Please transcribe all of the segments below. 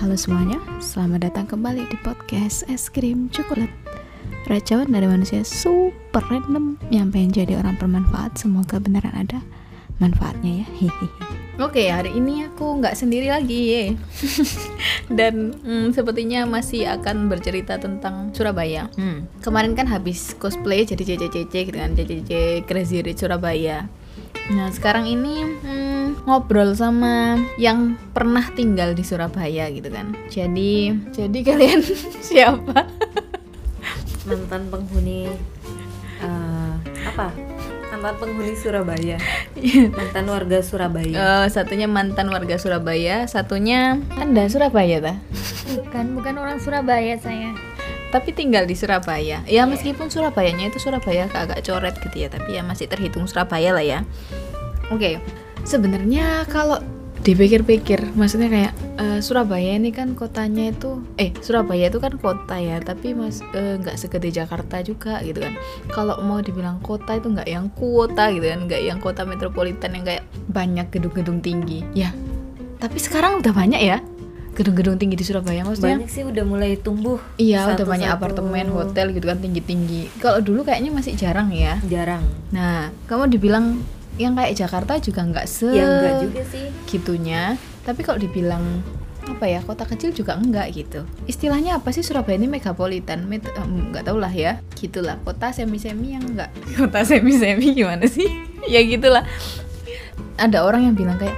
Halo semuanya, selamat datang kembali di podcast Es Krim Coklat Racawan dari manusia super random yang pengen jadi orang bermanfaat Semoga beneran ada manfaatnya ya Hehehe. Oke, hari ini aku nggak sendiri lagi ye. Dan mm, sepertinya masih akan bercerita tentang Surabaya Hmm, Kemarin kan habis cosplay jadi JJJJ gitu kan JJJ Crazy Rich Surabaya Nah sekarang ini hmm, ngobrol sama yang pernah tinggal di Surabaya gitu kan. Jadi jadi kalian siapa? mantan penghuni eh, apa mantan penghuni Surabaya mantan warga Surabaya Eh, satunya mantan warga Surabaya, satunya anda Surabaya ta? Bukan, bukan orang Surabaya saya. Iya. Tapi tinggal di Surabaya. Ya meskipun Surabayanya itu Surabaya agak coret gitu ya, tapi ya masih terhitung Surabaya lah ya. Oke, sebenarnya kalau dipikir-pikir, maksudnya kayak eh, Surabaya ini kan kotanya itu, eh Surabaya itu kan kota ya, tapi mas eh, nggak segede Jakarta juga gitu kan. Kalau mau dibilang kota itu nggak yang kuota gitu kan, nggak yang kota metropolitan yang kayak banyak gedung-gedung tinggi. Ya, tapi sekarang udah banyak ya gedung-gedung tinggi di Surabaya maksudnya. banyak sih udah mulai tumbuh Iya, udah Satu-satu. banyak apartemen, hotel gitu kan tinggi-tinggi. Kalau dulu kayaknya masih jarang ya. jarang Nah, kamu dibilang yang kayak Jakarta juga nggak se ya enggak juga sih gitunya. Tapi kalau dibilang apa ya kota kecil juga enggak gitu istilahnya apa sih Surabaya ini megapolitan Met- em, nggak tau lah ya gitulah kota semi semi yang enggak kota semi semi gimana sih ya gitulah ada orang yang bilang kayak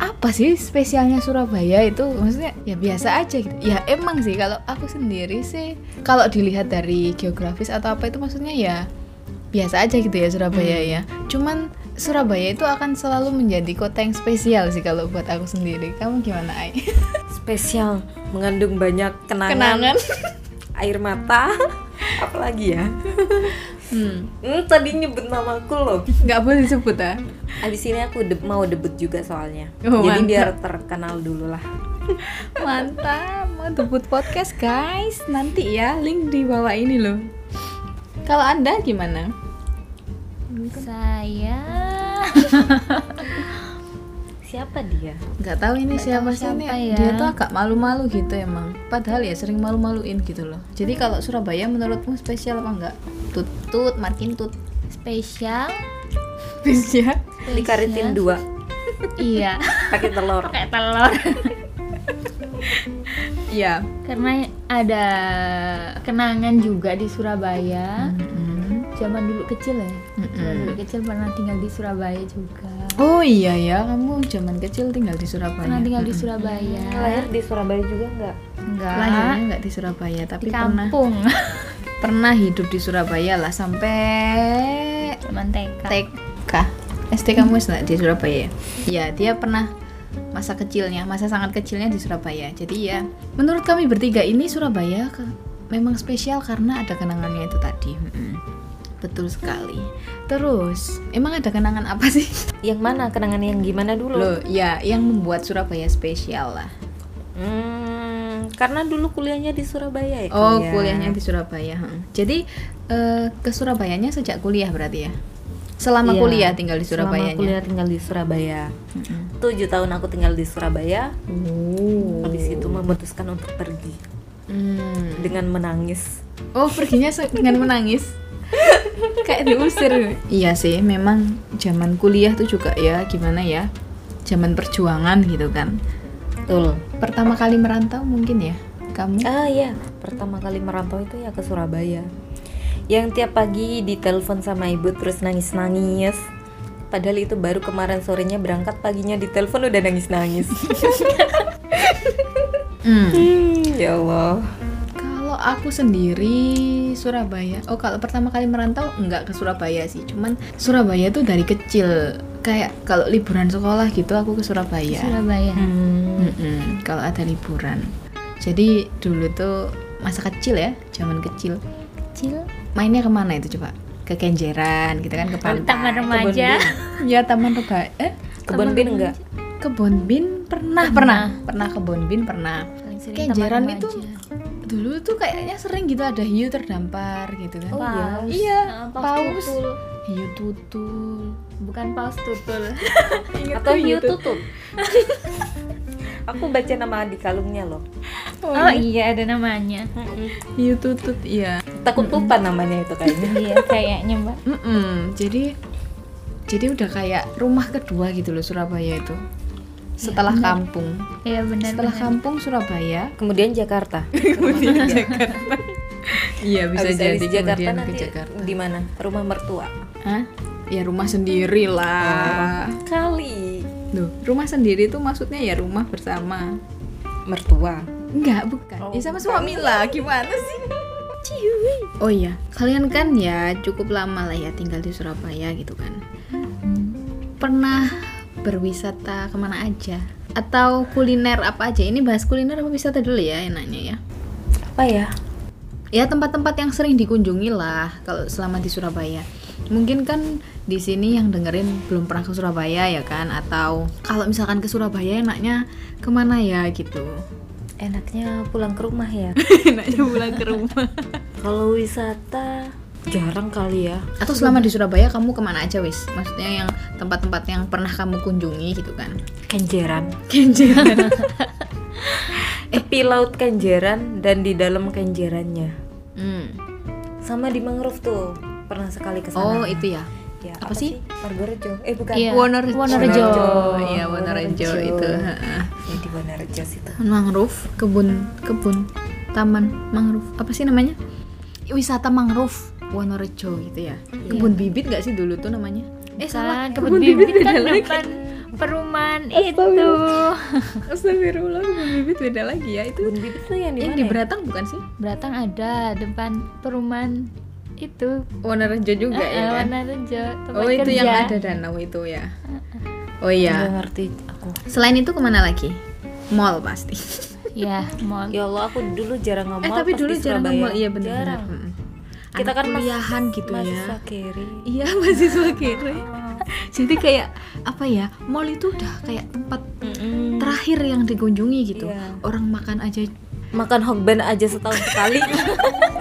apa sih spesialnya Surabaya itu maksudnya ya biasa aja gitu ya emang sih kalau aku sendiri sih kalau dilihat dari geografis atau apa itu maksudnya ya biasa aja gitu ya Surabaya ya cuman Surabaya itu akan selalu menjadi kota yang spesial sih kalau buat aku sendiri kamu gimana Ai? spesial mengandung banyak kenangan, kenangan air mata apalagi ya hmm. hmm, tadi nyebut namaku loh nggak boleh disebut ah abis ini aku de- mau debut juga soalnya Oh, jadi mantap. biar terkenal dulu lah mantap mau debut podcast guys nanti ya link di bawah ini loh kalau anda gimana Saya siapa dia nggak tahu ini Nggak siapa tahu sih ini siapa ya. dia tuh agak malu-malu gitu emang padahal ya sering malu-maluin gitu loh jadi kalau Surabaya menurutmu spesial apa enggak tut tut makin tut spesial. spesial dikaritin dua iya, pakai telur pakai telur. ya Karena ada kenangan juga di Surabaya. Mm-mm. Zaman dulu kecil ya. Mm-mm. Zaman dulu kecil pernah tinggal di Surabaya juga. Hmm. oh iya ya kamu zaman kecil tinggal di Surabaya Pernah tinggal di Mm-mm. Surabaya. Hmm. lahir di Surabaya juga enggak enggak Lahirnya enggak di Surabaya tapi Di pernah kampung. pernah hidup di Surabaya lah sampai Zaman TK. TK SD kamu nggak di Surabaya ya? ya dia pernah masa kecilnya masa sangat kecilnya di Surabaya jadi ya menurut kami bertiga ini Surabaya ke- memang spesial karena ada kenangannya itu tadi Mm-mm. betul sekali terus emang ada kenangan apa sih yang mana kenangan yang gimana dulu loh ya yang membuat Surabaya spesial lah Hmm, karena dulu kuliahnya di Surabaya ya. oh kalian? kuliahnya di Surabaya heeh. jadi eh, ke Surabayanya sejak kuliah berarti ya selama Iya, kuliah tinggal di selama Surabayanya kuliah tinggal di Surabaya. Tujuh tahun aku tinggal di Surabaya. Mm-mm. Habis itu memutuskan untuk pergi Hmm. dengan menangis. Oh perginya se- dengan menangis Kayak diusir Iya sih memang zaman kuliah tuh juga ya gimana ya Zaman perjuangan gitu kan Betul. Pertama kali merantau mungkin ya Kamu Ah iya, pertama kali merantau itu ya ke Surabaya. Yang tiap pagi ditelepon sama ibu terus nangis-nangis. Padahal itu baru kemarin sorenya berangkat, paginya ditelepon udah nangis-nangis. Hmm. Hmm, ya Allah. Kalau aku sendiri Surabaya Oh kalau pertama kali merantau nggak ke Surabaya sih Cuman Surabaya tuh dari kecil Kayak kalau liburan sekolah gitu aku ke Surabaya Surabaya. Hmm. Hmm. Mm-mm, kalau ada liburan. Jadi dulu tuh masa kecil ya, zaman kecil. Kecil. Mainnya kemana itu coba? Ke Kenjeran gitu kan ke pantai. Oh, Taman remaja. Ya taman reba. Eh, Kebun bin enggak? kebon bin pernah pernah pernah kebon bin pernah. Paling sering Kenjeran taman itu remaja. dulu tuh kayaknya sering gitu ada hiu terdampar gitu kan. Oh, Paus. Iya, Ah, paus. tutul. Hiu tutul. Bukan paus tutul. Atau hiu tutut. Aku baca nama di kalungnya loh. Oh iya ada namanya. Iya tutut, iya. Takut lupa namanya itu kayaknya. Iya kayaknya mbak. Mm-mm, jadi jadi udah kayak rumah kedua gitu loh Surabaya itu. Setelah kampung. Iya benar. Setelah benar. kampung Surabaya. Kemudian Jakarta. Kemudian Jakarta. Iya bisa Habis dari jadi Jakarta kemudian nanti ke ya. Jakarta. di mana? Rumah mertua. Hah? Ya rumah sendiri lah. Oh. Kali Loh, rumah sendiri itu maksudnya ya rumah bersama. mertua. Enggak, bukan. Oh, ya sama suami lah, gimana sih? Ciuy. Oh iya, kalian kan ya cukup lama lah ya tinggal di Surabaya gitu kan. Pernah berwisata kemana aja? Atau kuliner apa aja? Ini bahas kuliner apa wisata dulu ya enaknya ya. Apa ya? Ya tempat-tempat yang sering dikunjungi lah kalau selama di Surabaya. Mungkin kan di sini yang dengerin belum pernah ke Surabaya ya kan? Atau kalau misalkan ke Surabaya enaknya kemana ya gitu? Enaknya pulang ke rumah ya. enaknya pulang ke rumah. Kalau wisata jarang kali ya. Atau selama di Surabaya kamu kemana aja wis? Maksudnya yang tempat-tempat yang pernah kamu kunjungi gitu kan? Kenjeran. Kenjeran. Tepi laut Kenjeran dan di dalam Kenjerannya. hmm. Sama di mangrove tuh. Pernah sekali ke sana. Oh itu ya. Ya, Apa sih? Margorejo. Eh bukan. Iya. Wonorejo. Wonorejo. Iya Wonorejo, Wonorejo. itu. heeh. Ya, di Wonorejo situ. Mangrove, kebun, kebun, taman mangrove. Apa sih namanya? Wisata mangrove Wonorejo gitu ya. Iya. Kebun bibit gak sih dulu tuh namanya? Eh salah. Kan kebun bibit kan depan perumahan itu. Astagfirullah, kebun bibit beda lagi ya itu. Kebun bibit tuh yang di Yang mana? di ya? Beratang bukan sih? Beratang ada depan perumahan itu. Wonorejo Ah, juga ya Eh, kan? warna rejo, tempat Oh itu yang kerja. ada danau itu ya. Ah, Oh iya. Nggak ngerti aku. Selain itu kemana lagi? Mall pasti. Ya, mall. Ya Allah, aku dulu jarang ngomong. eh tapi dulu jarang ke mall, iya benar. Jarang. Kita Kita kan kan mas- kuliahan gitu ya. Mahasiswa kiri. Iya mahasiswa kere. Jadi kayak apa ya? Mall itu udah kayak tempat Terah- terakhir yang dikunjungi gitu. Iya. Orang makan aja. Makan hokben aja setahun sekali.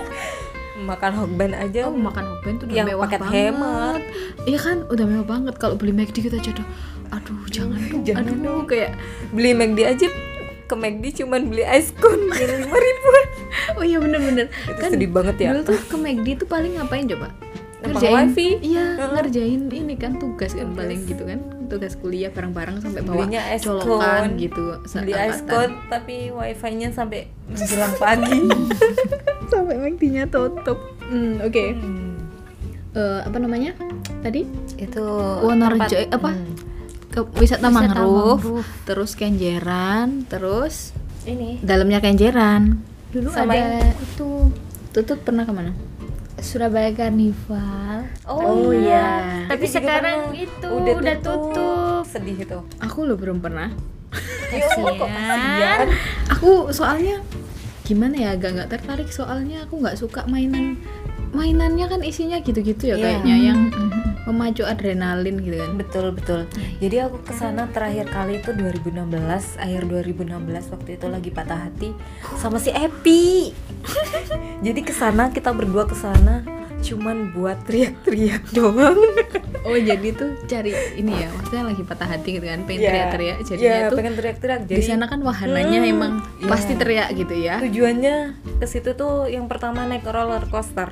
Makan hokben aja. Oh makan hokben tuh udah Iya. Yang mewah paket banget. hemat. Iya kan udah mewah banget. Kalau beli McD kita aja udah, Aduh jangan dong. Jangan aduh kayak Beli McD aja ke McD cuman beli ice cone yang lima ribuan Oh iya bener-bener Itu sedih banget ya. Dulu tuh ke McD tuh paling ngapain coba? Numpang wifi. Iya Heeh. ngerjain ini kan tugas kan paling gitu kan Tugas kuliah bareng-bareng sampai bawa Belinya es colokan cone. gitu beli ice seangkatan. cone tapi wifi-nya sampai menjelang pagi Sampai McD-nya tutup Hmm oke Eh, Apa namanya? Tadi? itu Wonorejo eh, apa? Hmm. Ke wisata, Wisata mangrove, mangrove. terus kenjeran, terus ini dalamnya kenjeran. Dulu Sama ada yang itu tutut pernah kemana? Surabaya Karnival. Oh, iya. Tapi juga sekarang pernah. itu udah tutup. Iya, sedih itu Aku loh belum pernah. Ya Allah, kok kasihan. aku soalnya gimana ya agak nggak tertarik soalnya aku nggak suka mainan mainannya kan isinya gitu-gitu ya Iya. kayaknya yang memacu adrenalin gitu kan betul betul jadi aku kesana terakhir kali itu 2016 akhir 2016 waktu itu lagi patah hati sama si Epi jadi kesana kita berdua kesana cuman buat teriak-teriak doang oh jadi tuh cari ini ya maksudnya lagi patah hati gitu kan pengen Iya. teriak-teriak Iya, jadinya tuh pengen teriak-teriak di sana kan wahananya Hmm, emang iya. pasti teriak gitu ya tujuannya ke situ tuh yang pertama naik roller coaster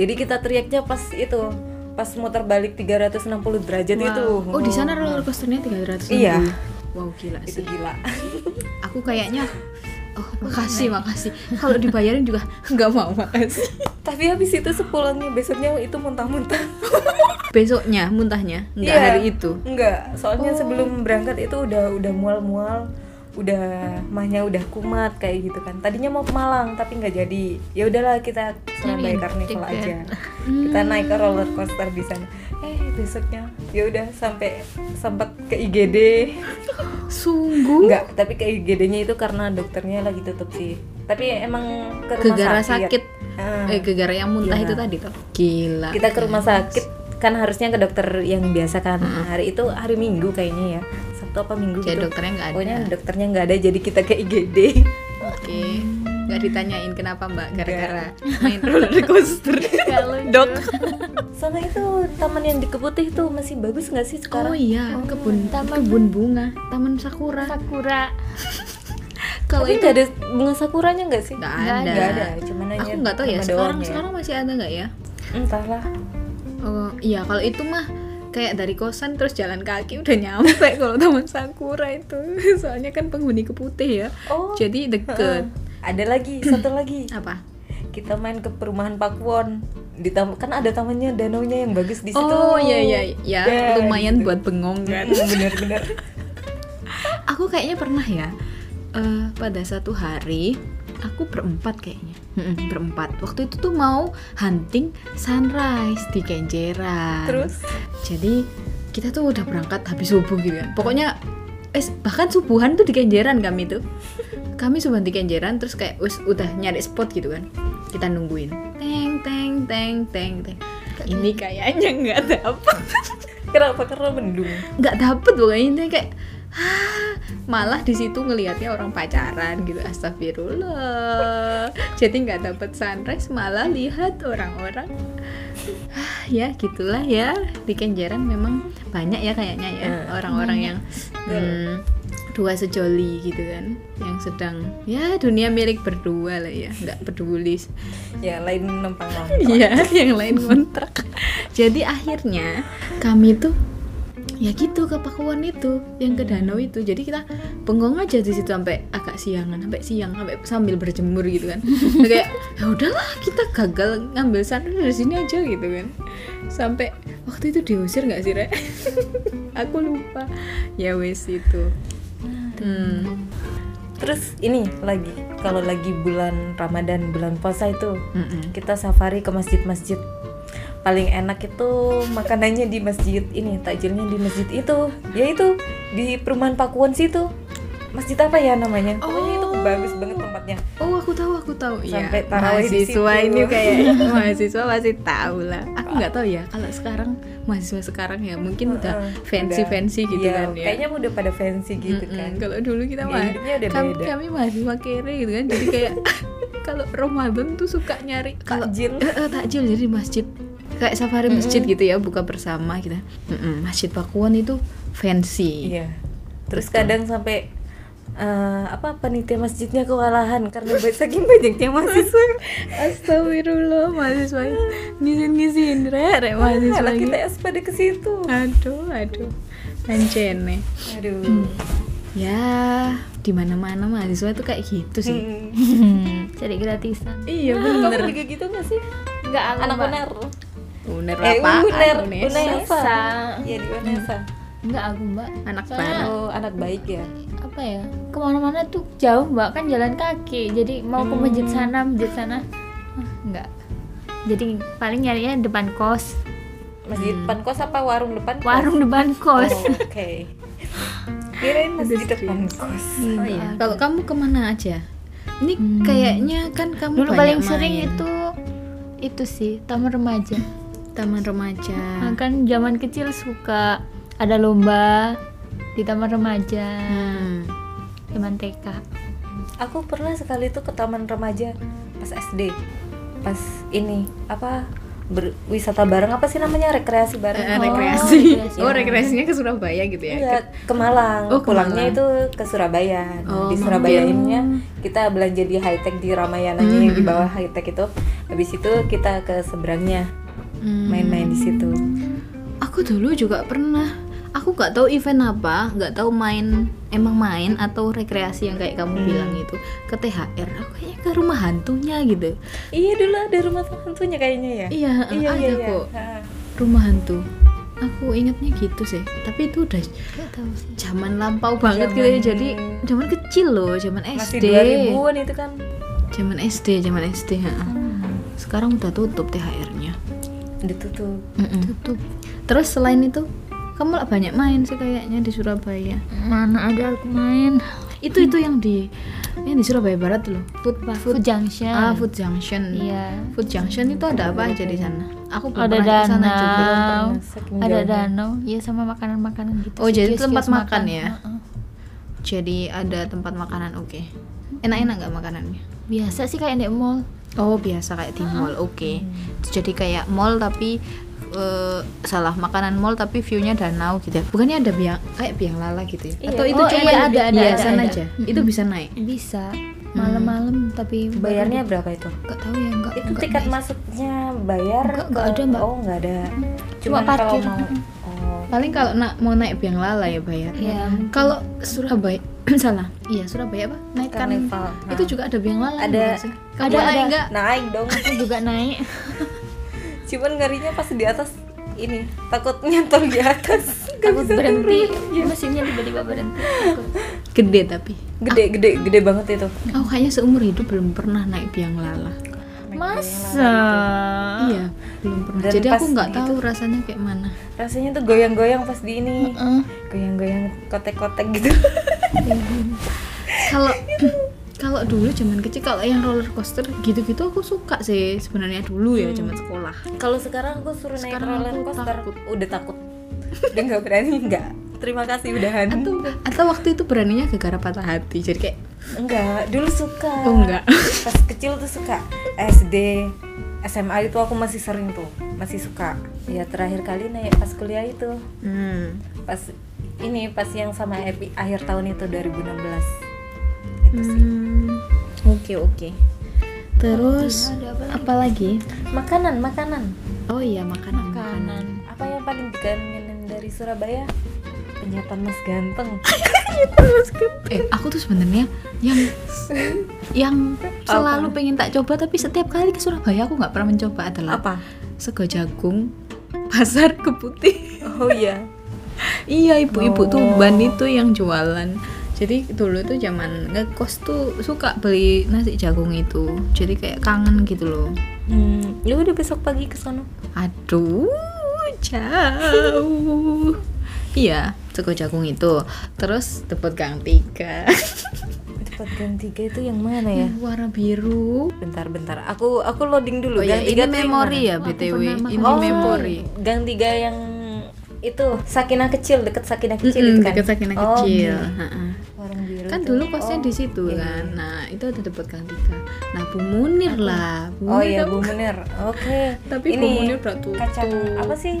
jadi kita teriaknya pas itu pas muter balik 360 derajat itu oh di sana roller coasternya 300 Iya. wow gila itu gitu. sih gila aku kayaknya oh makasih makasih kalau dibayarin juga nggak mau makasih tapi habis itu sepulangnya besoknya itu muntah-muntah besoknya muntahnya nggak Iya. hari itu enggak soalnya Oh. sebelum berangkat itu udah udah mual-mual udah mahnya udah kumat kayak gitu kan tadinya mau ke Malang tapi nggak jadi ya udahlah kita Surabaya Karnival ya. aja kita Hmm. naik ke roller coaster di sana eh besoknya ya udah sampai sempat ke IGD sungguh Enggak, tapi ke IGD-nya itu karena dokternya lagi tutup sih. Tapi emang ke rumah Gegara sakit. sakit. eh gegara yang muntah Gila. itu tadi tuh gila Kita ke rumah sakit kan harusnya ke dokter yang biasa kan. Hari itu hari Minggu kayaknya ya. Sabtu apa Minggu jadi gitu. dokternya nggak Ya, ada Pokoknya dokternya nggak ada jadi kita ke IGD. oke nggak ditanyain kenapa mbak gara-gara main roller coaster Kalau Dok. Sama itu taman yang di Keputih tuh masih bagus nggak sih oh sekarang? iya kebun taman- kebun bunga taman sakura Sakura kalau Tapi itu nggak ada bunga sakuranya nggak sih? nggak nggak ada. Nggak ada, cuman hanya aku nggak tahu ya nama sekarang doang ya. sekarang masih ada nggak ya Entahlah. oh iya kalau itu mah kayak dari kosan terus jalan kaki udah nyampe kalau taman sakura itu soalnya kan penghuni keputih ya Oh. jadi heeh. deket Ada lagi satu lagi. apa Kita main ke perumahan Pakwon. Di tam- kan ada tamannya, danaunya yang bagus di situ. oh iya iya ya Ya, lumayan gitu. buat bengong kan Hmm, Bener-bener. aku kayaknya pernah ya eh, pada satu hari aku berempat kayaknya Mm-mm, berempat waktu itu tuh mau hunting sunrise di Kenjeran Terus jadi kita tuh udah berangkat habis subuh gitu kan pokoknya eh bahkan subuhan tuh di Kenjeran kami tuh kami subuhan di Kenjeran terus kayak us, udah nyari spot gitu kan kita nungguin teng teng teng teng teng ini kayaknya nggak dapet kenapa karena mendung? nggak dapet pokoknya intinya kayak "Hah." malah di situ ngelihatnya orang pacaran gitu astagfirullah jadi nggak dapet sunrise malah lihat orang-orang Hah, ya gitulah ya di Kenjeran memang banyak ya kayaknya ya Eh, orang-orang yang hmm, dua sejoli gitu kan yang sedang ya dunia milik berdua lah ya nggak peduli Ya lain nempang lah. Iya, yang lain kontrak. Jadi akhirnya kami tuh ya gitu ke Pakuan itu, yang ke danau itu. Jadi kita bengong aja di situ sampai agak siangan, sampai siang, sampai sambil berjemur gitu kan. kayak ya udahlah kita gagal ngambil sunrise dari sini aja gitu kan. Sampai waktu itu diusir nggak sih, Re? Aku lupa. Ya wes itu. Hmm. Terus ini lagi kalau lagi bulan Ramadan, bulan puasa itu Hmm, Mm-mm. kita safari ke masjid-masjid. Paling enak itu makanannya di masjid ini, takjilnya di masjid itu, yaitu di perumahan Pakuan situ. Masjid apa ya namanya? Pokoknya itu bagus banget tempatnya. Oh aku tahu aku tahu Iya, Sampai tarawih di mahasiswa situ. ini kayak mahasiswa pasti tahu lah aku nggak tahu ya kalau sekarang mahasiswa sekarang ya mungkin udah Heeh, fancy udah. fancy gitu Iya, kan ya Kayaknya udah pada fancy gitu Mm-mm, kan. kalau dulu kita Gaya mah hidupnya udah kami, beda. kami mahasiswa kere gitu kan jadi kayak kalau Ramadan tuh suka nyari kalau Takjil. Eh, eh, takjil jadi di masjid kayak safari masjid gitu ya buka bersama gitu Mm-mm, masjid Pakuan itu fancy Iya. Terus kadang sampai eh, apa panitia masjidnya kewalahan karena saking banyaknya mahasiswa. Astagfirullah mahasiswa ngisin ngisin re re mahasiswa Anak ini. kita ya. es pada ke situ. Aduh, aduh. Lancene. Aduh. Hmm, Ya, di mana-mana mahasiswa tuh kayak gitu sih. Hmm. cari gratisan. Iya, Kamu juga gitu gak sih? Enggak aku Anak Mbak. UNER. Uner Eh, apaan, UNER, Unes? UNESA. Unesa. Iya di UNESA. Enggak aku Mbak. Anak Soalnya baru. Oh, anak baik ya. apa ya kemana-mana tuh jauh mbak kan jalan kaki jadi mau ke masjid Hmm. sana masjid sana ah, enggak jadi paling nyarinya depan kos Masjid Hmm. depan kos apa warung depan? kos? warung depan Oh, kos Oke. Kirain masjid depan kos. Oh iya. Kalau kamu kemana aja? Ini Hmm. kayaknya kan kamu dulu banyak paling sering main. Hmm. itu itu sih taman remaja taman remaja. Nah, kan zaman kecil suka ada lomba di taman remaja Hmm. zaman TK Aku pernah sekali tuh ke taman remaja pas SD. Pas ini apa berwisata bareng apa sih namanya rekreasi bareng? Eh, Oh, rekreasi. rekreasi. Oh, rekreasinya ke Surabaya gitu ya. Enggak, iya, ke Malang. Oh, ke Malang. Pulangnya itu ke Surabaya. Nah, Oh, di Surabaya ininya kita belanja di high tech di Ramayana Hmm. yang di bawah high tech itu. Habis itu kita ke seberangnya Hmm. main-main di situ. Aku dulu juga pernah. Aku nggak tahu event apa, nggak tahu main emang main atau rekreasi yang kayak kamu Hmm. bilang itu ke THR. Aku kayaknya ke rumah hantunya gitu. Iya dulu ada rumah hantunya kayaknya ya. Iya, iya ada iya. kok Ha. rumah hantu. Aku ingatnya gitu sih. Tapi itu udah enggak tahu sih zaman lampau banget gitu ya. Zaman- Jadi zaman kecil loh, zaman Masih SD. 2000-an itu kan. Zaman SD, zaman SD. ha. Hmm. Sekarang udah tutup THR-nya. Ditutup. Tutup. Terus selain itu, kamu lah banyak main sih kayaknya di Surabaya. mana ada aku main itu itu yang di yang di Surabaya Barat loh food food, junction ah food junction iya food junction itu ada apa aja di sana aku belum ada pernah ke sana juga danau saking ada jauhnya. danau ya sama makanan makanan gitu Oh, sih, jadi kios-kios tempat makan ya? Heeh. jadi ada tempat makanan oke Enak-enak nggak makanannya? biasa sih kayak di mall Oh biasa kayak di mall, oke. Jadi kayak mall tapi eh, salah makanan mall tapi viewnya danau gitu. ya. Bukannya ada biang kayak biang lala gitu ya? Hmm. Iya. Atau itu Oh, cuma iya, ada, ada, hiasan ada, ada. aja? Mm-mm. Itu bisa naik. bisa Hmm. malam-malam tapi Bayarnya berapa itu? nggak tahu ya nggak Itu nggak tiket naik. masuknya bayar? Nggak- nggak ke- ada, Mbak. Oh, nggak ada. Cuma Cuman kalau parkir. mau- oh. Paling kalau nak mau naik biang lala ya bayar. Iya. Kalau Surabaya salah. Iya Surabaya apa? Naik Karnival. karnival. Nah. Itu juga ada biang lala. Ada- bukan sih? Kamu ada- naik ada. nggak? Naik dong. Aku juga naik Cuman ngerinya pas di atas ini takut nyantol di atas nggak aku bisa berhenti Iya, turun. mesinnya tiba-tiba berhenti Gede tapi. gede gede gede banget itu Aku kayaknya seumur hidup belum pernah naik biang lala. masa Iya, belum pernah. Ah. Dan Jadi aku pas gitu. nggak itu- tahu rasanya kayak mana. rasanya tuh goyang-goyang pas di ini Heeh. goyang-goyang kotek-kotek gitu kalau kalau dulu zaman kecil kalau yang roller coaster gitu-gitu aku suka sih sebenarnya dulu Hmm. ya zaman sekolah kalau sekarang aku suruh naik Sekarang roller aku coaster takut. udah takut udah nggak berani nggak terima kasih udahan atau atau waktu itu beraninya gara-gara patah hati jadi kayak enggak dulu suka oh enggak pas kecil tuh suka SD SMA itu aku masih sering tuh masih suka ya terakhir kali naik pas kuliah itu hmm. pas ini pas yang sama Epi akhir tahun itu 2016 itu sih Hmm. oke oke terus Iya, ada apa lagi? apa lagi makanan makanan oh iya makanan kanan apa yang paling dikangenin dari Surabaya penyataan mas ganteng eh aku tuh sebenarnya yang yang selalu pengen tak coba tapi setiap kali ke Surabaya aku nggak pernah mencoba adalah apa sego jagung pasar keputih oh iya Iya ibu-ibu Oh. Tuban itu yang jualan. Jadi dulu tuh zaman ngekos tuh suka beli nasi jagung itu. Jadi kayak kangen gitu loh. hmm, ya udah besok pagi ke sana Aduh, jauh. iya, sego jagung itu. Terus depot gang tiga. tempat gang tiga itu yang mana ya Warna biru. bentar bentar aku aku loading Oh dulu iya, gang ini tiga tuh yang memori mana? ya Wah, aku BTW. pernah makan. Ini oh memori. gang tiga yang itu Sakinah kecil deket Sakinah kecil Mm-mm, itu kan Dekat Sakinah Oh, kecil. iya. Ha-ha. warung biru kan tuh. dulu kosnya Oh, di situ iya, kan iya. nah itu ada depot gang tiga nah bu munir lah bu Oh Munir iya kamu- Bu Munir, oke. Nah, kan Tapi Bu ini Munir udah tutup. Kacang apa sih?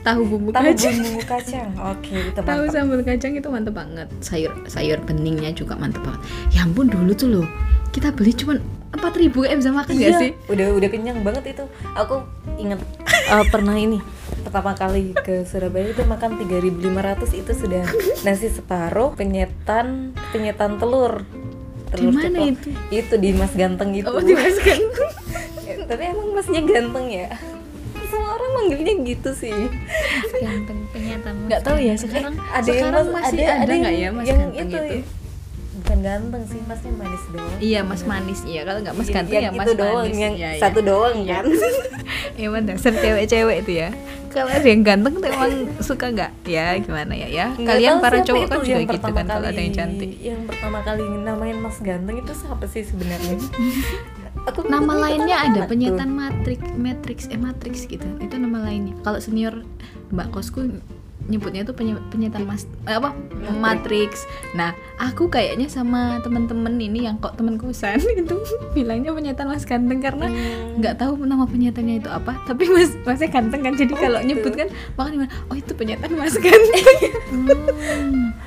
tahu bumbu Tahu kacang bumbu kacang. Oke, itu tahu mantap. sambal kacang itu mantep banget sayur sayur beningnya juga mantep banget ya ampun dulu tuh loh kita beli cuman empat ribu kayak bisa makan nggak Iya, sih udah udah kenyang banget itu. Aku inget eh, pernah ini pertama kali ke Surabaya itu makan 3.500 itu sudah nasi separuh, penyetan, penyetan telur. Telur mana ceplok. itu? Itu di Mas Ganteng itu. oh jelas kan Eh, Tapi emang Masnya ganteng ya. Semua orang manggilnya gitu sih. Eh, ganteng penyataan Mas. nggak tahu ya sekarang Ada sekarang yang mas- masih ada, nggak ya yang- mas yang ganteng itu, Bukan ganteng sih, Masnya manis doang. Iya mas manis iya kalau nggak mas Yang- ganteng ya yang mas itu doang, manis yang Iya, iya. satu doang kan. Eh, emang dasar cewek-cewek itu ya kalau ada yang ganteng tuh emang suka nggak ya gimana ya ya Nggak kalian tahu para siapa cowok itu kan juga yang gitu pertama kan kalau ada yang kali- cantik Yang pertama kali namain Mas ganteng itu siapa sih sebenarnya? Aku nama aku- lainnya aku- ada aku- penyetan matrix matrix eh matrix gitu itu nama lainnya kalau senior mbak kosku nyebutnya itu penye- penyetan mas eh, apa matrix nah aku kayaknya sama temen-temen ini yang kok temen kosan itu bilangnya penyetan mas ganteng karena nggak tahu nama penyetannya itu apa tapi mas masnya ganteng kan jadi Oh, kalau gitu. nyebut kan makanya bilang, oh itu penyetan mas kan? ganteng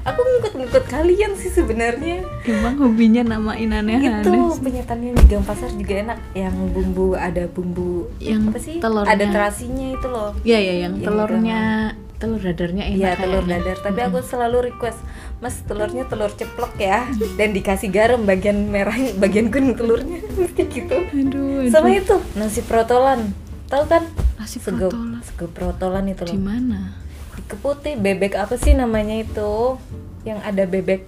Aku ngikut-ngikut kalian sih sebenarnya. emang hobinya namain aneh-aneh Itu penyetan yang di Gang Pasar juga enak, yang bumbu ada bumbu yang apa sih? telurnya Ada terasinya itu loh. ya ya yang Iya, telurnya telur dadarnya enak Iya telur kayaknya. dadar, tapi aku selalu request Mas telurnya telur ceplok ya Dan dikasih garam bagian merah, bagian kuning telurnya Mesti gitu aduh, Sama itu, nasi protolan Tahu kan? nasi Sego, protolan sego protolan itu di loh mana Ke putih, bebek apa sih namanya itu? Yang ada bebek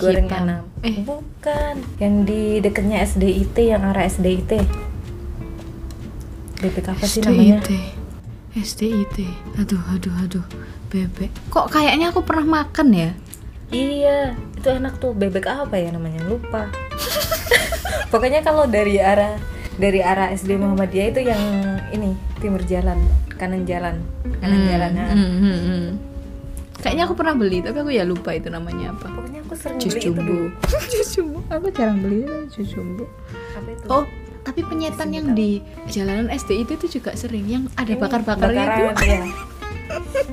Bebek goreng hitam. enam Eh. Bukan Yang di dekatnya SDIT, yang arah SDIT Bebek apa sih namanya? SDIT aduh aduh aduh bebek kok kayaknya aku pernah makan ya Iya, itu enak tuh bebek apa ya namanya lupa. Pokoknya kalau dari arah dari arah SD Muhammadiyah itu yang ini timur jalan, kanan jalan, kanan Hmm, jalan. nah. hmm, hmm, hmm. Kayaknya aku pernah beli, tapi aku ya lupa itu namanya apa. Pokoknya aku sering Jus beli itu dulu. jumbo. Jus jumbo. Aku jarang beli jus jumbo. Apa itu? Oh, tapi penyetan yang di jalanan SD itu tuh juga sering yang ada Ini bakar-bakarnya itu. bakaran, ya.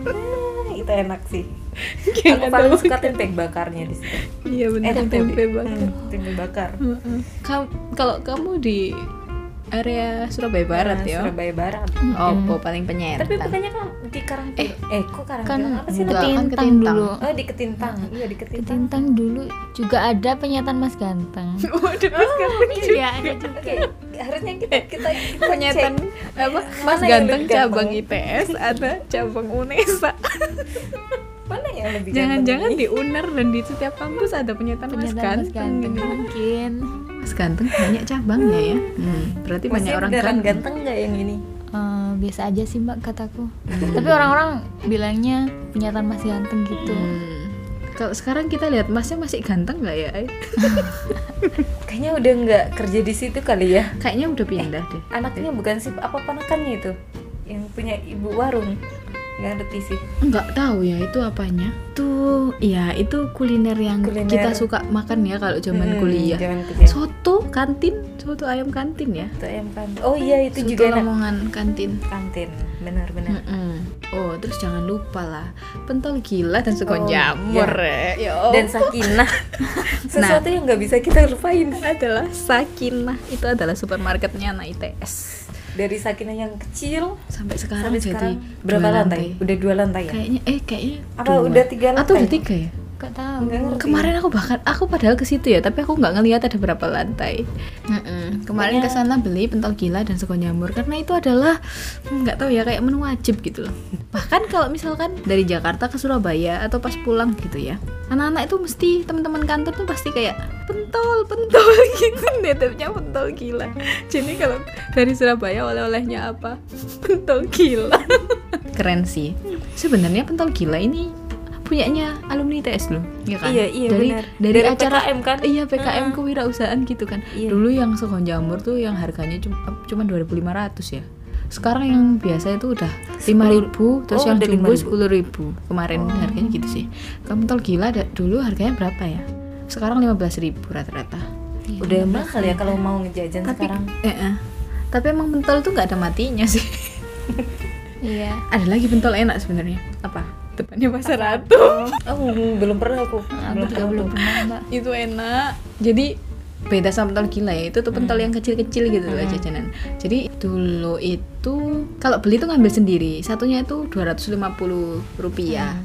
Ah, itu enak sih. aku paling suka tempe bakarnya di situ. Iya benar Enak tempe tuh. bakar. Eh, Hmm, tempe bakar. Heeh. Kam- kalau kamu di area Surabaya Barat Nah, ya. Surabaya Barat. Opo paling penyetan. Tapi bukannya kan di Karang eh, eh kok Karang kan apa sih enggak, namanya? kan ketintang ketintang. dulu Oh di Ketintang, iya di Ketintang. ketintang dulu juga ada penyataan mas ganteng Waduh, Mas Ganteng iya ada juga Oke, harusnya kita kita, kita Eh, penyetan cek. apa? Mas Mana yang Ganteng lebih cabang ganteng? ITS ada cabang UNESA. Mana yang lebih Jangan-jangan ganteng? di UNER dan di setiap kampus ada penyetan, Mas penyataan mas Ganteng. ganteng mungkin Mas Ganteng banyak cabangnya ya. Hmm, berarti banyak Maksudnya orang beneran ganteng. ganteng nggak yang ini? Eh, biasa aja sih mbak kataku tapi orang-orang bilangnya penyataan mas ganteng gitu Hmm. Kalau sekarang kita lihat Masnya masih ganteng nggak ya? Ai? Kayaknya udah nggak kerja di situ kali ya. Kayaknya udah pindah deh. Anaknya bukan sih apa ponakannya itu yang punya ibu warung. Nggak ngerti sih. nggak tahu ya itu apanya tuh ya itu kuliner yang Kuliner. kita suka makan ya kalau zaman Hmm, kuliah Zaman kuliah. soto kantin soto ayam kantin ya Soto ayam kantin. Oh iya itu soto juga enak. Lamongan kantin Kantin, benar-benar. Mm-mm. oh terus jangan lupa lah pentol gila dan sekon Oh, jamur ya. Ya Dan Allah. sakinah. Nah. Sesuatu yang nggak bisa kita lupain. adalah Sakinah itu adalah supermarketnya anak ITS Dari sakinah yang kecil sampai sekarang sampai jadi sekarang dua berapa lantai? Udah dua lantai ya? kayaknya eh kayaknya Apa dua. udah tiga atau udah lantai? tiga ya gak tahu Nggak ngerti. Kemarin aku bahkan aku padahal ke situ ya, tapi aku nggak ngelihat ada berapa lantai. Mm-mm. Kemarin ke sana beli pentol gila dan sekon jamur karena itu adalah hmm, nggak tahu ya kayak menu wajib gitu loh. Bahkan kalau misalkan dari Jakarta ke Surabaya atau pas pulang gitu ya, anak-anak itu mesti teman-teman kantor tuh pasti kayak pentol pentol gitu netepnya pentol gila. Jadi kalau dari Surabaya oleh-olehnya apa? Pentol gila. Keren sih. Sebenarnya pentol gila ini punyanya alumni ITS loh, ya kan? Iya, iya, dari benar. dari, Dari acara PKM kan? Iya, PKM kewirausahaan gitu kan. Iya. Dulu yang sekon jamur tuh yang harganya eh, cuma cuma 2.500 ya. Sekarang yang biasa itu udah 5.000, terus Oh, yang udah Oh. jumbo 5.000. 10.000. Kemarin harganya gitu sih. Kamu tol gila da- dulu harganya berapa ya? Sekarang 15.000 rata-rata. Udah mahal ya kalau mau ngejajan sekarang. Eh, eh. Tapi emang pentol tuh nggak ada matinya sih. iya ada lagi pentol enak sebenarnya. Apa? Depannya pasar ratu. Oh, belum pernah aku. Ah, aku juga pernah belum aku. pernah mbak itu enak jadi beda sama pentol gila ya itu tuh pentol yang kecil-kecil gitu loh jajanan jadi dulu itu kalau beli tuh ngambil sendiri satunya itu 250 rupiah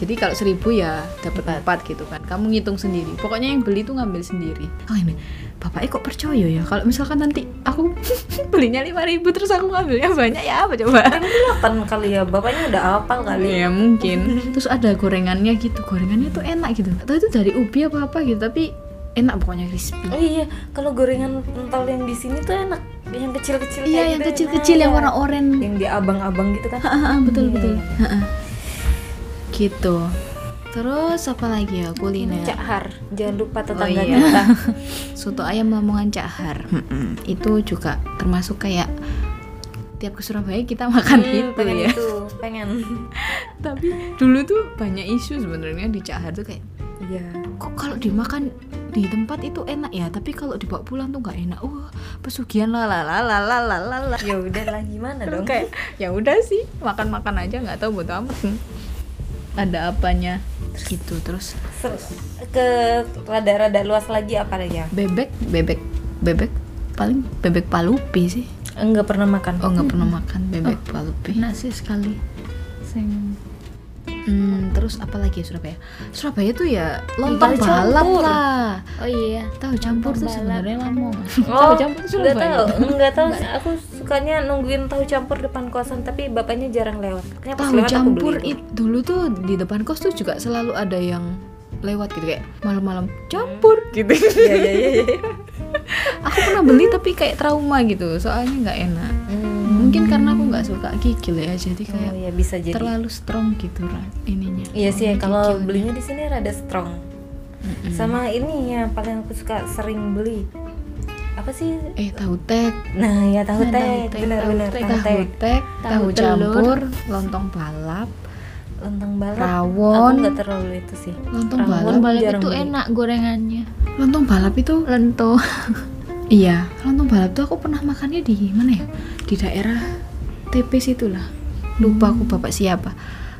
jadi kalau seribu ya dapat Hmm. empat gitu kan kamu ngitung sendiri pokoknya yang beli tuh ngambil sendiri oh ini bapaknya kok percaya ya kalau misalkan nanti aku belinya 5000 terus aku ngambilnya banyak ya apa coba Kelihatan kali ya, bapaknya udah hafal kali. Iya mungkin. Terus ada gorengannya gitu, gorengannya tuh enak gitu. Atau itu dari ubi apa apa gitu, tapi enak pokoknya crispy. Oh iya, kalau gorengan pentol yang di sini tuh enak. Yang kecil-kecil kayak Iya yang gitu kecil-kecil enak. yang warna oranye. yang di abang-abang gitu kan. Ah, ah, betul Iya, betul. iya, iya. Ah, ah. Gitu. Terus apa lagi ya kuliner? Cak Har, jangan lupa tetangga Oh, iya. kita. Soto ayam Lamongan Cahar. Mm-mm. Itu juga termasuk kayak tiap ke Surabaya kita makan Hmm, itu pengen ya. itu, pengen. Tapi dulu tuh banyak isu sebenarnya di Cahar tuh kayak Iya. kok kalau dimakan di tempat itu enak ya tapi kalau dibawa pulang tuh nggak enak wah pesugihan lah lah lah lah lah lah lah, lah Ya udah lah gimana Terus dong? kayak ya udah sih makan makan aja nggak tahu buat amat Hmm. ada apanya gitu terus Ser- ke rada-rada luas lagi apa lagi ya? bebek bebek bebek paling bebek palupi sih Enggak pernah makan. oh nggak pernah makan bebek Oh, palupi enak sih sekali Sing- Hmm, terus apa lagi ya Surabaya Surabaya tuh ya lontong Tahu balap campur. lah oh iya tahu campur tuh balap. sebenarnya Lamongan Oh, tahu campur tuh nggak Surabaya. tahu, nggak tahu. Aku sukanya nungguin tahu campur depan kosan, tapi bapaknya jarang lewat. Kayaknya pas tahu lewat aku campur beli it dulu tuh di depan kos tuh juga selalu ada yang lewat gitu kayak malam-malam campur gitu Iya, iya, iya, iya. aku pernah beli tapi kayak trauma gitu soalnya nggak enak mungkin karena aku nggak suka kikil ya jadi kayak Oh, ya bisa jadi. terlalu strong gitu Ra, ininya Iya sih, Kikilnya. kalau belinya di sini rada strong. Sama ini yang paling aku suka sering beli. Apa sih? eh tahu tek Nah, ya tahu Nah, tahu tek, tek, benar-benar tahu tahu tek. tek tahu Tahu telur. campur lontong balap lontong balap Rawon. aku nggak terlalu itu sih Lontong Rawon. Lontong balap. balap jarang itu beli. enak gorengannya. Lontong balap itu Lento. iya, lontong balap tuh aku pernah makannya di mana ya? Di daerah TP situ lah. Lupa Hmm. aku bapak siapa.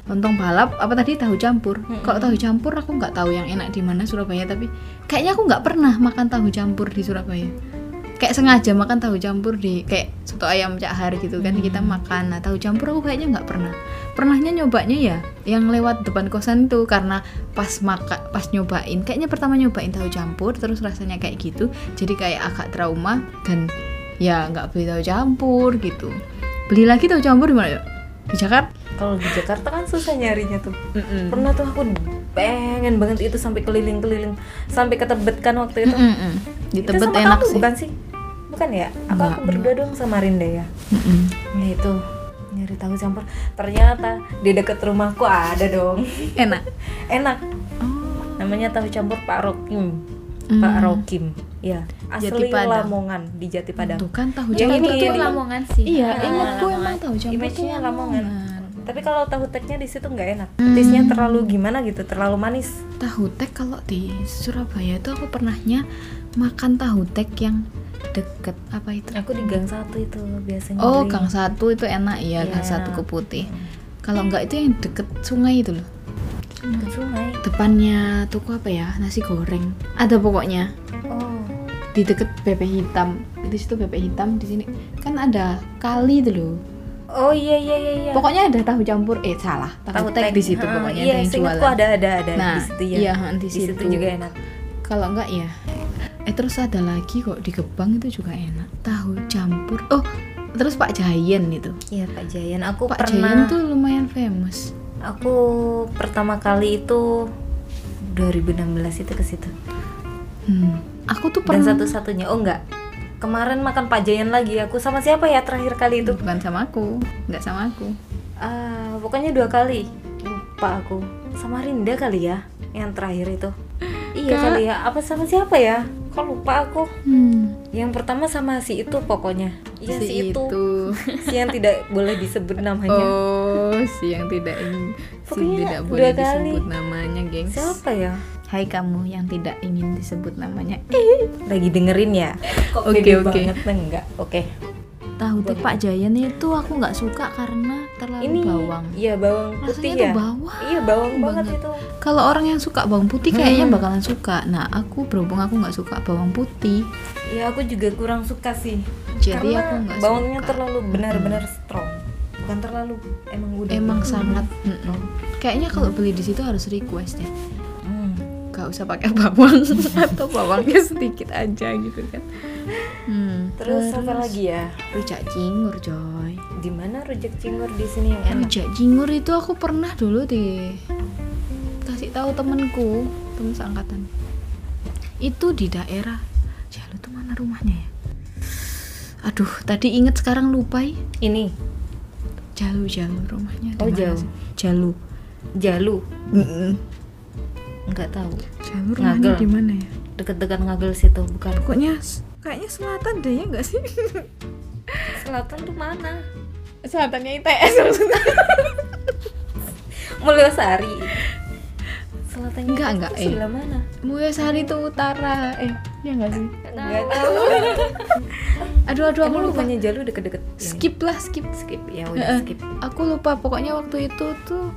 Lontong balap apa tadi tahu campur. Hmm. Kalau tahu campur aku nggak tahu yang enak di mana Surabaya tapi kayaknya aku nggak pernah makan tahu campur di Surabaya. Kayak sengaja makan tahu campur di kayak soto ayam cak har gitu kan kita Hmm. makan. Nah, tahu campur aku kayaknya nggak pernah. Pernahnya nyobanya ya yang lewat depan kosan tuh karena pas maka pas nyobain kayaknya pertama nyobain tahu campur terus rasanya kayak gitu jadi kayak agak trauma dan ya nggak beli tahu campur gitu beli lagi tahu campur di mana yuk? di Jakarta kalau di Jakarta kan susah nyarinya tuh pernah tuh aku pengen banget itu sampai keliling-keliling sampai ke Tebet kan waktu itu Mm-mm. di Itu Tebet sama enak kamu, sih bukan sih bukan ya aku Enggak, aku berdua dong sama Rinda ya Mm-mm. ya itu nyari tahu campur ternyata di deket rumahku ada dong enak enak Oh. namanya tahu campur Pak Rokim Hmm. Pak Rokim ya asli Jati Padang. Lamongan di Jati Padang tuh kan tahu Ya, campur ini, tuh ini. enak. Lamongan sih. iya Ah, ingatku Lamongan. emang tahu campur tuh Image-nya Lamongan. Lamongan. tapi kalau tahu teknya di situ nggak enak petisnya terlalu gimana gitu terlalu manis tahu tek kalau di Surabaya tuh aku pernahnya makan tahu tek yang deket apa itu aku di gang satu itu biasanya oh beli. Gang Satu itu enak iya Gang Iya. Satu Keputih kalau enggak itu yang deket sungai itu loh ke sungai depannya toko apa ya nasi goreng ada pokoknya oh di deket bebek hitam di situ bebek hitam di sini kan ada kali itu loh oh iya iya iya iya. pokoknya ada tahu campur eh salah tahu, tek di situ ha, pokoknya iya, ada yang seingatku jualan ada ada ada nah di situ ya iya ha, di di situ. situ, juga enak kalau enggak ya eh terus ada lagi kok di Gebang itu juga enak tahu campur oh terus Pak Jayan itu iya Pak Jayan aku Pak Jayan pernah tuh lumayan famous aku pertama kali itu 2016 itu ke situ hmm. aku tuh dan pernah satu-satunya oh enggak kemarin makan Pak Jayan lagi aku sama siapa ya terakhir kali itu bukan sama aku nggak sama aku Ah, pokoknya dua kali lupa aku sama Rinda kali ya yang terakhir itu iya Kak. kali ya apa sama siapa ya kok lupa aku hmm. yang pertama sama si itu pokoknya iya si, itu. itu. si yang tidak boleh disebut namanya Oh, si yang tidak ingin si Pokoknya tidak dua boleh kali. disebut namanya, gengs. siapa ya Hai kamu yang tidak ingin disebut namanya. Eh, lagi dengerin ya kok Oke, beda oke. banget enggak oke Tahu tuh Pak Jayan itu aku nggak suka karena terlalu ini bawang. iya bawang Rasanya putih tuh ya bawang iya bawang banget, banget. itu Kalau orang yang suka bawang putih kayaknya Hmm. bakalan suka. Nah, aku berhubung aku nggak suka bawang putih, ya aku juga kurang suka sih jadi karena aku nggak suka. bawangnya terlalu benar-benar strong bukan terlalu emang udah emang gitu. sangat. mm-mm. Kayaknya kalau beli di situ harus request deh. Hmm. Gak usah pakai bawang atau bawangnya sedikit aja gitu kan. Hmm. terus apa lagi ya rujak cingur coy di mana rujak cingur di sini yang enak rujak cingur itu aku pernah dulu deh kasih tahu temenku temen seangkatan itu di daerah jalu tuh mana rumahnya ya aduh tadi inget sekarang lupa ih. ini jalu jalu rumahnya di Oh, mana Jalu. sih? jalu jalu Mm-mm. nggak tahu jalu rumahnya Ngagel. di mana ya deket-dekat ngagel situ bukan pokoknya s- kayaknya selatan deh ya nggak sih selatan tuh mana selatannya ITS maksudnya Mulyosari selatan Enggak, enggak, eh. sebelah mana Mulyasari itu utara eh ya nggak sih nggak tahu aduh aduh aku emang lupa bukannya jalu deket-deket ini? skip lah skip skip Eh, ya eh. udah skip aku lupa pokoknya waktu itu tuh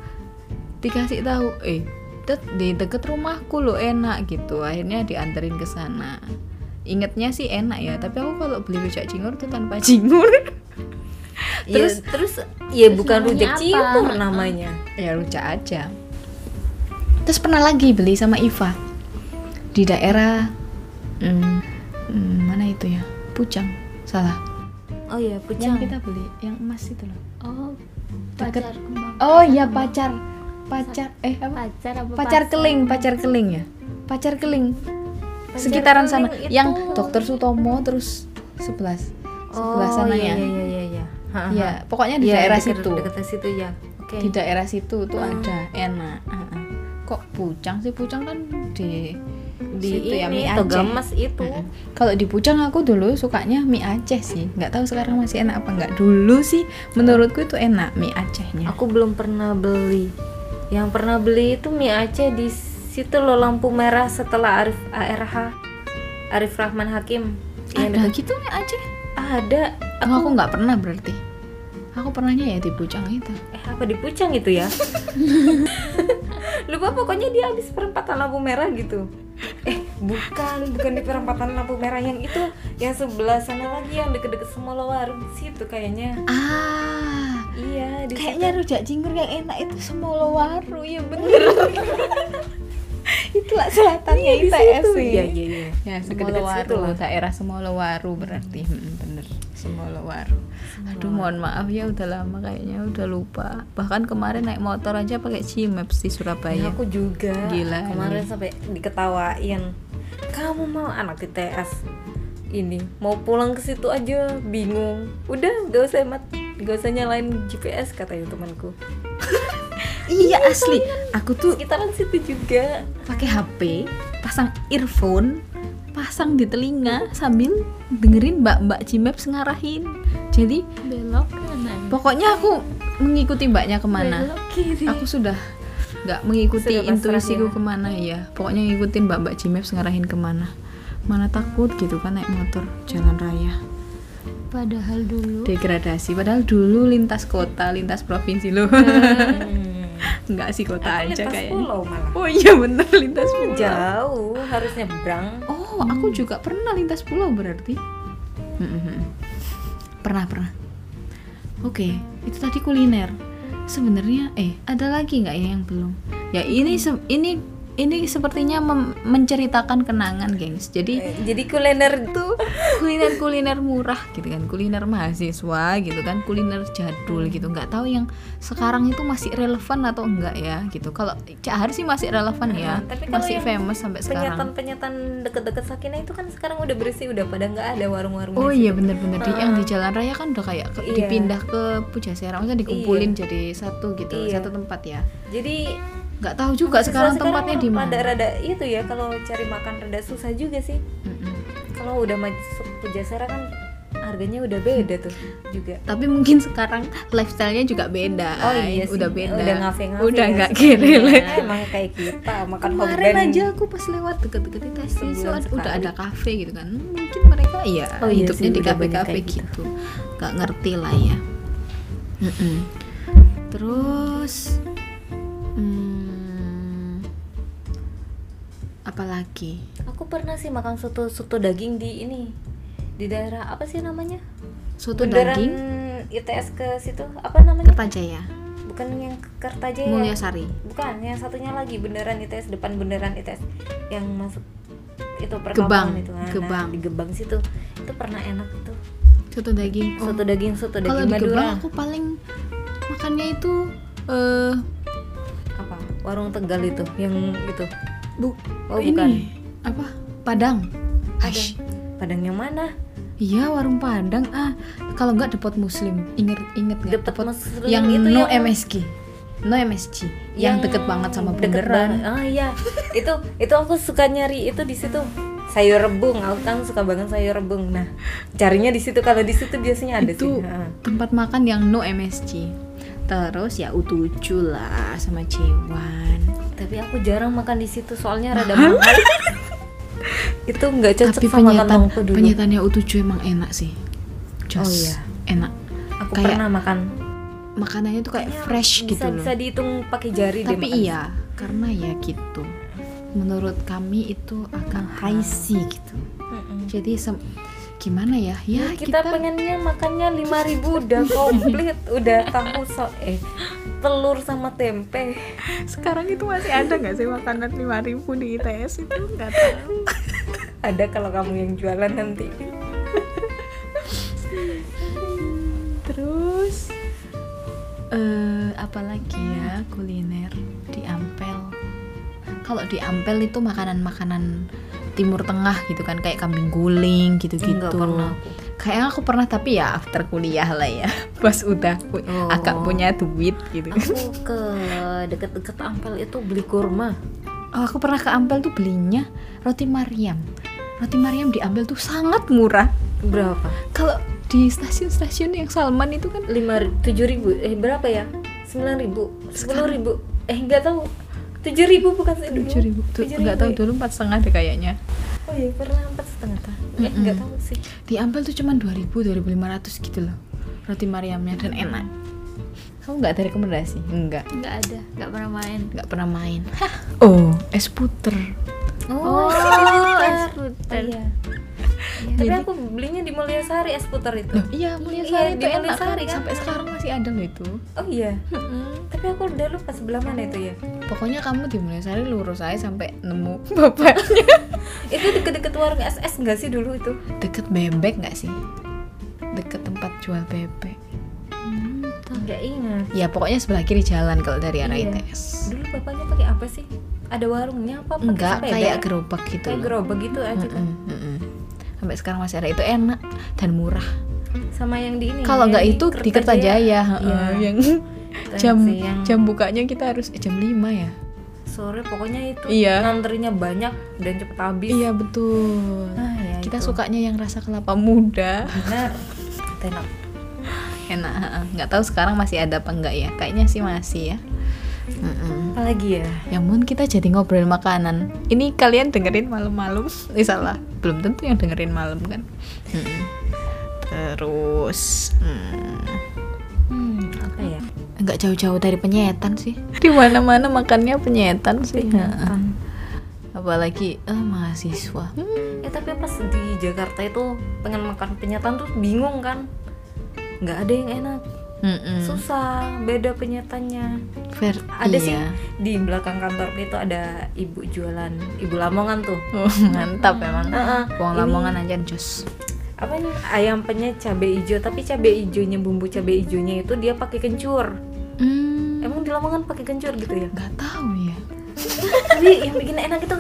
dikasih tahu eh det, di deket rumahku lo enak gitu akhirnya dianterin ke sana ingetnya sih enak ya tapi aku kalau beli rujak cingur tuh tanpa cingur terus Iya. terus ya terus bukan namanya rujak apa? cingur Heeh. namanya ya rujak aja terus pernah lagi beli sama Iva di daerah hmm, hmm, mana itu ya Pucang salah oh ya yang pucang kita beli yang emas itu loh Oh, Deket. pacar kembang. oh ya pacar pacar eh apa Pacar apa? pacar pasar? keling pacar keling ya pacar keling Pacar sekitaran sana keling yang itu. dokter Sutomo terus sebelas sebelah oh sana ya iya iya iya iya Ha, ha, Iya, ha. pokoknya di Iya, daerah deket- situ deket situ ya oke di daerah situ tuh Ah. ada enak Ah, ah. kok pucang sih pucang kan di di situ ya, mie ini Aceh. Togamas itu Mm-mm. Kalau di Pucang aku dulu sukanya mie Aceh sih. Nggak tahu sekarang masih enak apa nggak. Dulu sih menurutku itu enak mie Acehnya. aku belum pernah beli Yang pernah beli itu mie Aceh di situ loh lampu merah setelah Arif ARH Arif Rahman Hakim. Yang Ada dekat- gitu ya aja. ada. Aku aku nggak pernah berarti. Aku pernahnya ya di Pucang itu. Eh apa di Pucang itu ya? Lupa pokoknya dia habis perempatan lampu merah gitu. Eh bukan, bukan di perempatan lampu merah yang itu, yang sebelah sana lagi yang deket-deket semolo warung situ kayaknya. Ah, Iya, di situ. kayaknya rujak cingur yang enak itu semolo waru ya bener. Itulah selatannya Iya, di ITS situ. sih. Iya, iya, iya. Ya, Semolo situ lah. Semolowaru, daerah Semolowaru berarti Hmm, bener Semolowaru. Aduh, mohon maaf ya udah lama kayaknya udah lupa. Bahkan kemarin naik motor aja pakai Gmaps di Ya, Surabaya. Iya, aku juga. Gila, Kemarin ini. sampai diketawain. Kamu mau anak ITS ini mau pulang ke situ aja bingung. Udah gak usah mat, gak usah nyalain GPS katanya temanku. Iya asli, aku tuh Sekitaran situ juga. pakai HP, pasang earphone, pasang di telinga sambil dengerin mbak-mbak Gmaps ngarahin. Jadi belok kanan pokoknya aku mengikuti mbaknya kemana. belok kiri aku sudah nggak mengikuti Iya, Sudah pasrah intuisiku ya. kemana ya pokoknya ngikutin mbak mbak Cimeps ngarahin kemana mana takut gitu kan naik motor jalan raya padahal dulu degradasi padahal dulu lintas kota lintas provinsi loh nggak sih kota Hmm, aja Iya. Lintas kayaknya pulau malah. oh iya bener lintas pulau Jauh, harus nyebrang. oh aku Hmm. juga pernah lintas pulau berarti Mm-mm. pernah pernah oke itu tadi kuliner sebenarnya eh ada lagi nggak ya yang belum ya ini se- ini ini sepertinya mem- menceritakan kenangan gengs jadi Eh, Jadi kuliner itu kuliner kuliner murah gitu kan kuliner mahasiswa gitu kan kuliner jadul gitu nggak tahu yang sekarang itu masih relevan atau enggak ya gitu kalau Cak Har sih masih relevan ya Hmm, tapi kalau masih yang famous sampai sekarang penyataan-penyataan deket-deket Sakinah itu kan sekarang udah bersih, udah pada nggak ada warung-warung. Oh di iya bener-bener di yang di jalan raya kan udah kayak ke- Gitu. Iya. dipindah ke Pujasera maksudnya dikumpulin jadi satu gitu Iya. satu tempat ya situ. Jadi nggak tahu juga sekarang, Sekarang tempatnya di mana Rada-rada itu ya kalau cari makan rada susah juga sih. Mm-mm. Kalau udah masuk pujasera kan harganya udah beda tuh juga. tapi mungkin sekarang lifestyle-nya juga beda Ay. Oh iya sih. udah beda Udah ngafe-ngafe. udah ya nggak sih. kere Iya, lagi Emang kayak kita makan kemarin hotband. aja aku pas lewat deket-deket Itasi Sebulan so, ad- udah sekali. ada kafe gitu kan mungkin mereka ya Oh iya hidupnya sih, di udah banyak kafe-kafe kayak gitu nggak ngerti lah ya Mm-mm. terus hmm, apalagi Aku pernah sih makan soto soto daging di ini di daerah apa sih namanya? soto Bundaran daging ITS ke situ apa namanya? Kertajaya Bukan yang ke Kertajaya. Mulyasari Bukan, yang satunya lagi bundaran ITS depan bundaran ITS yang masuk itu Gebang, perkampungan itu kan. Nah, Gebang. di Gebang situ. Itu pernah enak tuh. soto daging oh. Soto daging, soto kalau daging di Gebang Madura. aku paling makannya itu eh Apa? Warung Tegal itu, yang gitu. itu. bu Oh, ini bukan. apa Padang Padang Padang yang mana? Iya warung Padang ah kalau nggak depot Muslim inget inget nggak Depot Muslim yang itu no yang- MSG no MSG yang, deket banget sama deket banget. bundaran Ah iya. itu itu aku suka nyari itu di situ. Sayur rebung, aku kan suka banget sayur rebung. Nah, carinya di situ kalau di situ biasanya ada itu sih. Ah. tempat makan yang no MSG terus ya U7 lah sama Cewan Tapi aku jarang makan di situ soalnya rada mahal. itu nggak cocok tapi sama penyetan kantongku dulu. penyetannya U7 emang enak sih Jos, Oh, iya. enak aku kayak- pernah makan. makanannya tuh kayak fresh bisa, gitu loh Bisa dihitung pakai jari deh tapi makan. iya karena ya gitu menurut kami itu agak pricey gitu Mm-mm. jadi sem- gimana ya ya Hmm, kita, pengennya makannya 5000 udah komplit, udah tahu so eh telur sama tempe. sekarang itu masih ada nggak sih makanan 5000 di ITS itu nggak tahu Ada kalau kamu yang jualan nanti. terus eh apalagi ya kuliner di Ampel kalau di Ampel itu makanan-makanan Timur Tengah gitu kan kayak kambing guling gitu-gitu Nggak pernah aku. kayaknya aku pernah tapi ya after kuliah lah ya pas udah pu- Oh. agak punya duit gitu kan Aku ke deket-deket Ampel itu beli kurma. Oh, aku pernah ke Ampel tuh belinya roti Mariam. Roti Mariam di Ampel tuh sangat murah. Berapa? Kalau di stasiun-stasiun yang Salman itu kan 5 7000 eh berapa ya? 9000, 10000. eh nggak tahu tujuh ribu bukan tujuh ribu tuh nggak ya? tahu dulu empat setengah deh kayaknya oh iya pernah empat setengah tahun eh Mm-mm. nggak tahu sih di Ampel tuh cuma 2000 2500 gitu loh roti Mariamnya dan enak kamu nggak ada rekomendasi nggak nggak ada nggak pernah main nggak pernah main oh es puter oh, iya, es oh, puter iya tapi aku belinya di Mulyasari es puter itu Loh, iya mulia Iya, sari di itu enak kan? Mulyasari kan. sampai sekarang masih ada loh itu oh iya tapi aku udah lupa sebelah mana itu ya pokoknya kamu di mulia sari lurus aja sampai nemu bapaknya itu deket-deket warung SS nggak sih dulu itu deket bebek nggak sih deket tempat jual bebek Hmm, nggak ingat ya pokoknya sebelah kiri jalan kalau dari arah Iya. ITS dulu bapaknya pakai apa sih ada warungnya apa pakai enggak sepeda? kayak gerobak gitu kayak loh. gerobak gitu aja Mm-mm, mm-mm. sampai sekarang masih ada itu enak dan murah sama yang di ini kalau yang nggak itu di Kertajaya Iya. heeh, yang Itu jam yang siang. jam bukanya kita harus eh, jam 5 ya sore pokoknya itu Iya. ngantrinya banyak dan cepet habis iya betul Ah, ya kita itu. sukanya yang rasa kelapa muda benar enak enak heeh. nggak tahu sekarang masih ada apa enggak ya kayaknya sih masih ya Mm-mm. apalagi ya ya mohon kita jadi ngobrol makanan ini kalian dengerin malam-malam eh salah belum tentu yang dengerin malam kan Mm-mm. terus mm, hmm, apa ya nggak jauh-jauh dari penyetan sih di mana mana makannya penyetan sih Ingatan. apalagi eh, mahasiswa ya tapi pas di Jakarta itu pengen makan penyetan tuh bingung kan nggak ada yang enak Hmm. Mm-mm. susah beda penyetannya Ver- ada sih iya. di belakang kantor itu ada ibu jualan ibu lamongan tuh Oh, mantap emang Heeh. uang Ini- lamongan aja jos apa nih ayam penyet cabe hijau tapi cabe hijaunya bumbu cabe hijaunya itu dia pakai kencur Hmm, emang di lamongan pakai kencur gitu ya nggak tahu ya tapi yang bikin enak itu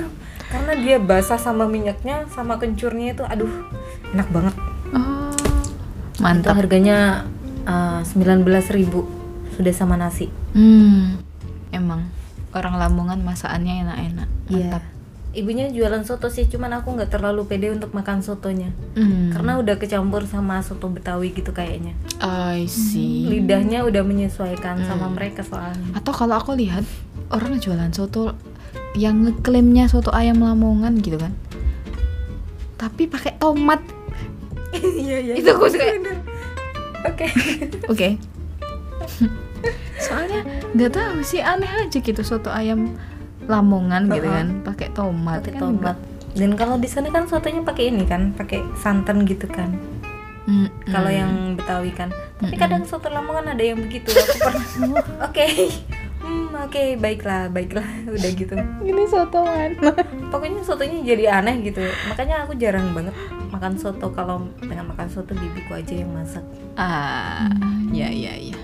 karena dia basah sama minyaknya sama kencurnya itu aduh enak banget oh itu mantap harganya eh, sembilan belas ribu sudah sama nasi Hmm, emang orang Lamongan masakannya enak-enak Iya. mantap ibunya jualan soto sih cuman aku nggak terlalu pede untuk makan sotonya Hmm. karena udah kecampur sama soto betawi gitu kayaknya Hmm. I Hmm. see lidahnya udah menyesuaikan sama mereka soalnya atau kalau aku lihat orang jualan soto yang ngeklaimnya soto ayam Lamongan gitu kan tapi pakai tomat iya iya itu aku suka oke Oke. Soalnya nggak tahu sih aneh aja gitu soto ayam Lamongan gitu Uh-uh. kan pakai tomat pakai kan tomat nggak- dan kalau di sana kan sotonya pakai ini kan pakai santan gitu kan Mm, kalau mm. yang betawi kan tapi Mm-mm. kadang soto lamongan ada yang begitu aku pernah oke Hmm, oke baiklah baiklah udah gitu ini soto mana? pokoknya sotonya jadi aneh gitu makanya aku jarang banget makan soto kalau pengen makan soto bibiku aja yang masak Ah, Hmm. ya ya ya.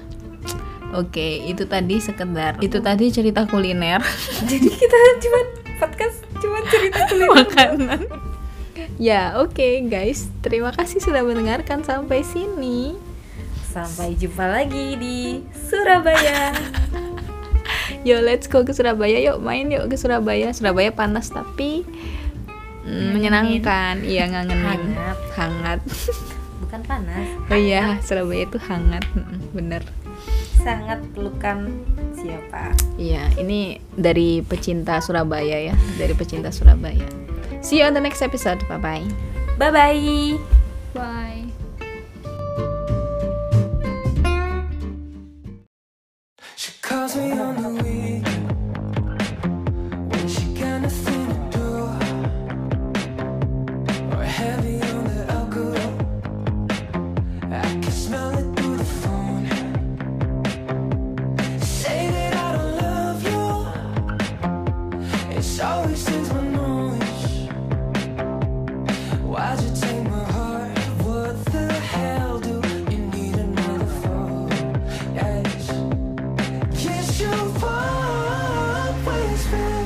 Oke, itu tadi sekedar itu tadi cerita kuliner jadi kita cuman podcast cuman cerita kuliner makanan. Ya, oke guys. Terima kasih sudah mendengarkan sampai sini. sampai jumpa lagi di Surabaya Yo, let's go ke Surabaya. Yuk, main yuk ke Surabaya. Surabaya panas tapi mm, menyenangkan. Iya, ngangenin. Hangat. Hangat. bukan panas Oh iya, Surabaya itu hangat. Mm, Bener. sangat pelukan siapa Iya, ini dari pecinta Surabaya ya, dari pecinta Surabaya. See you on the next episode. Bye bye. bye bye bye She calls me on the week when she got nothing to do, or heavy on the alcohol. I can smell it through the phone. Say that I don't love you. It's always since my noise. Why'd you take my heart? What the hell do you need another phone? Yes. Yes, you always will.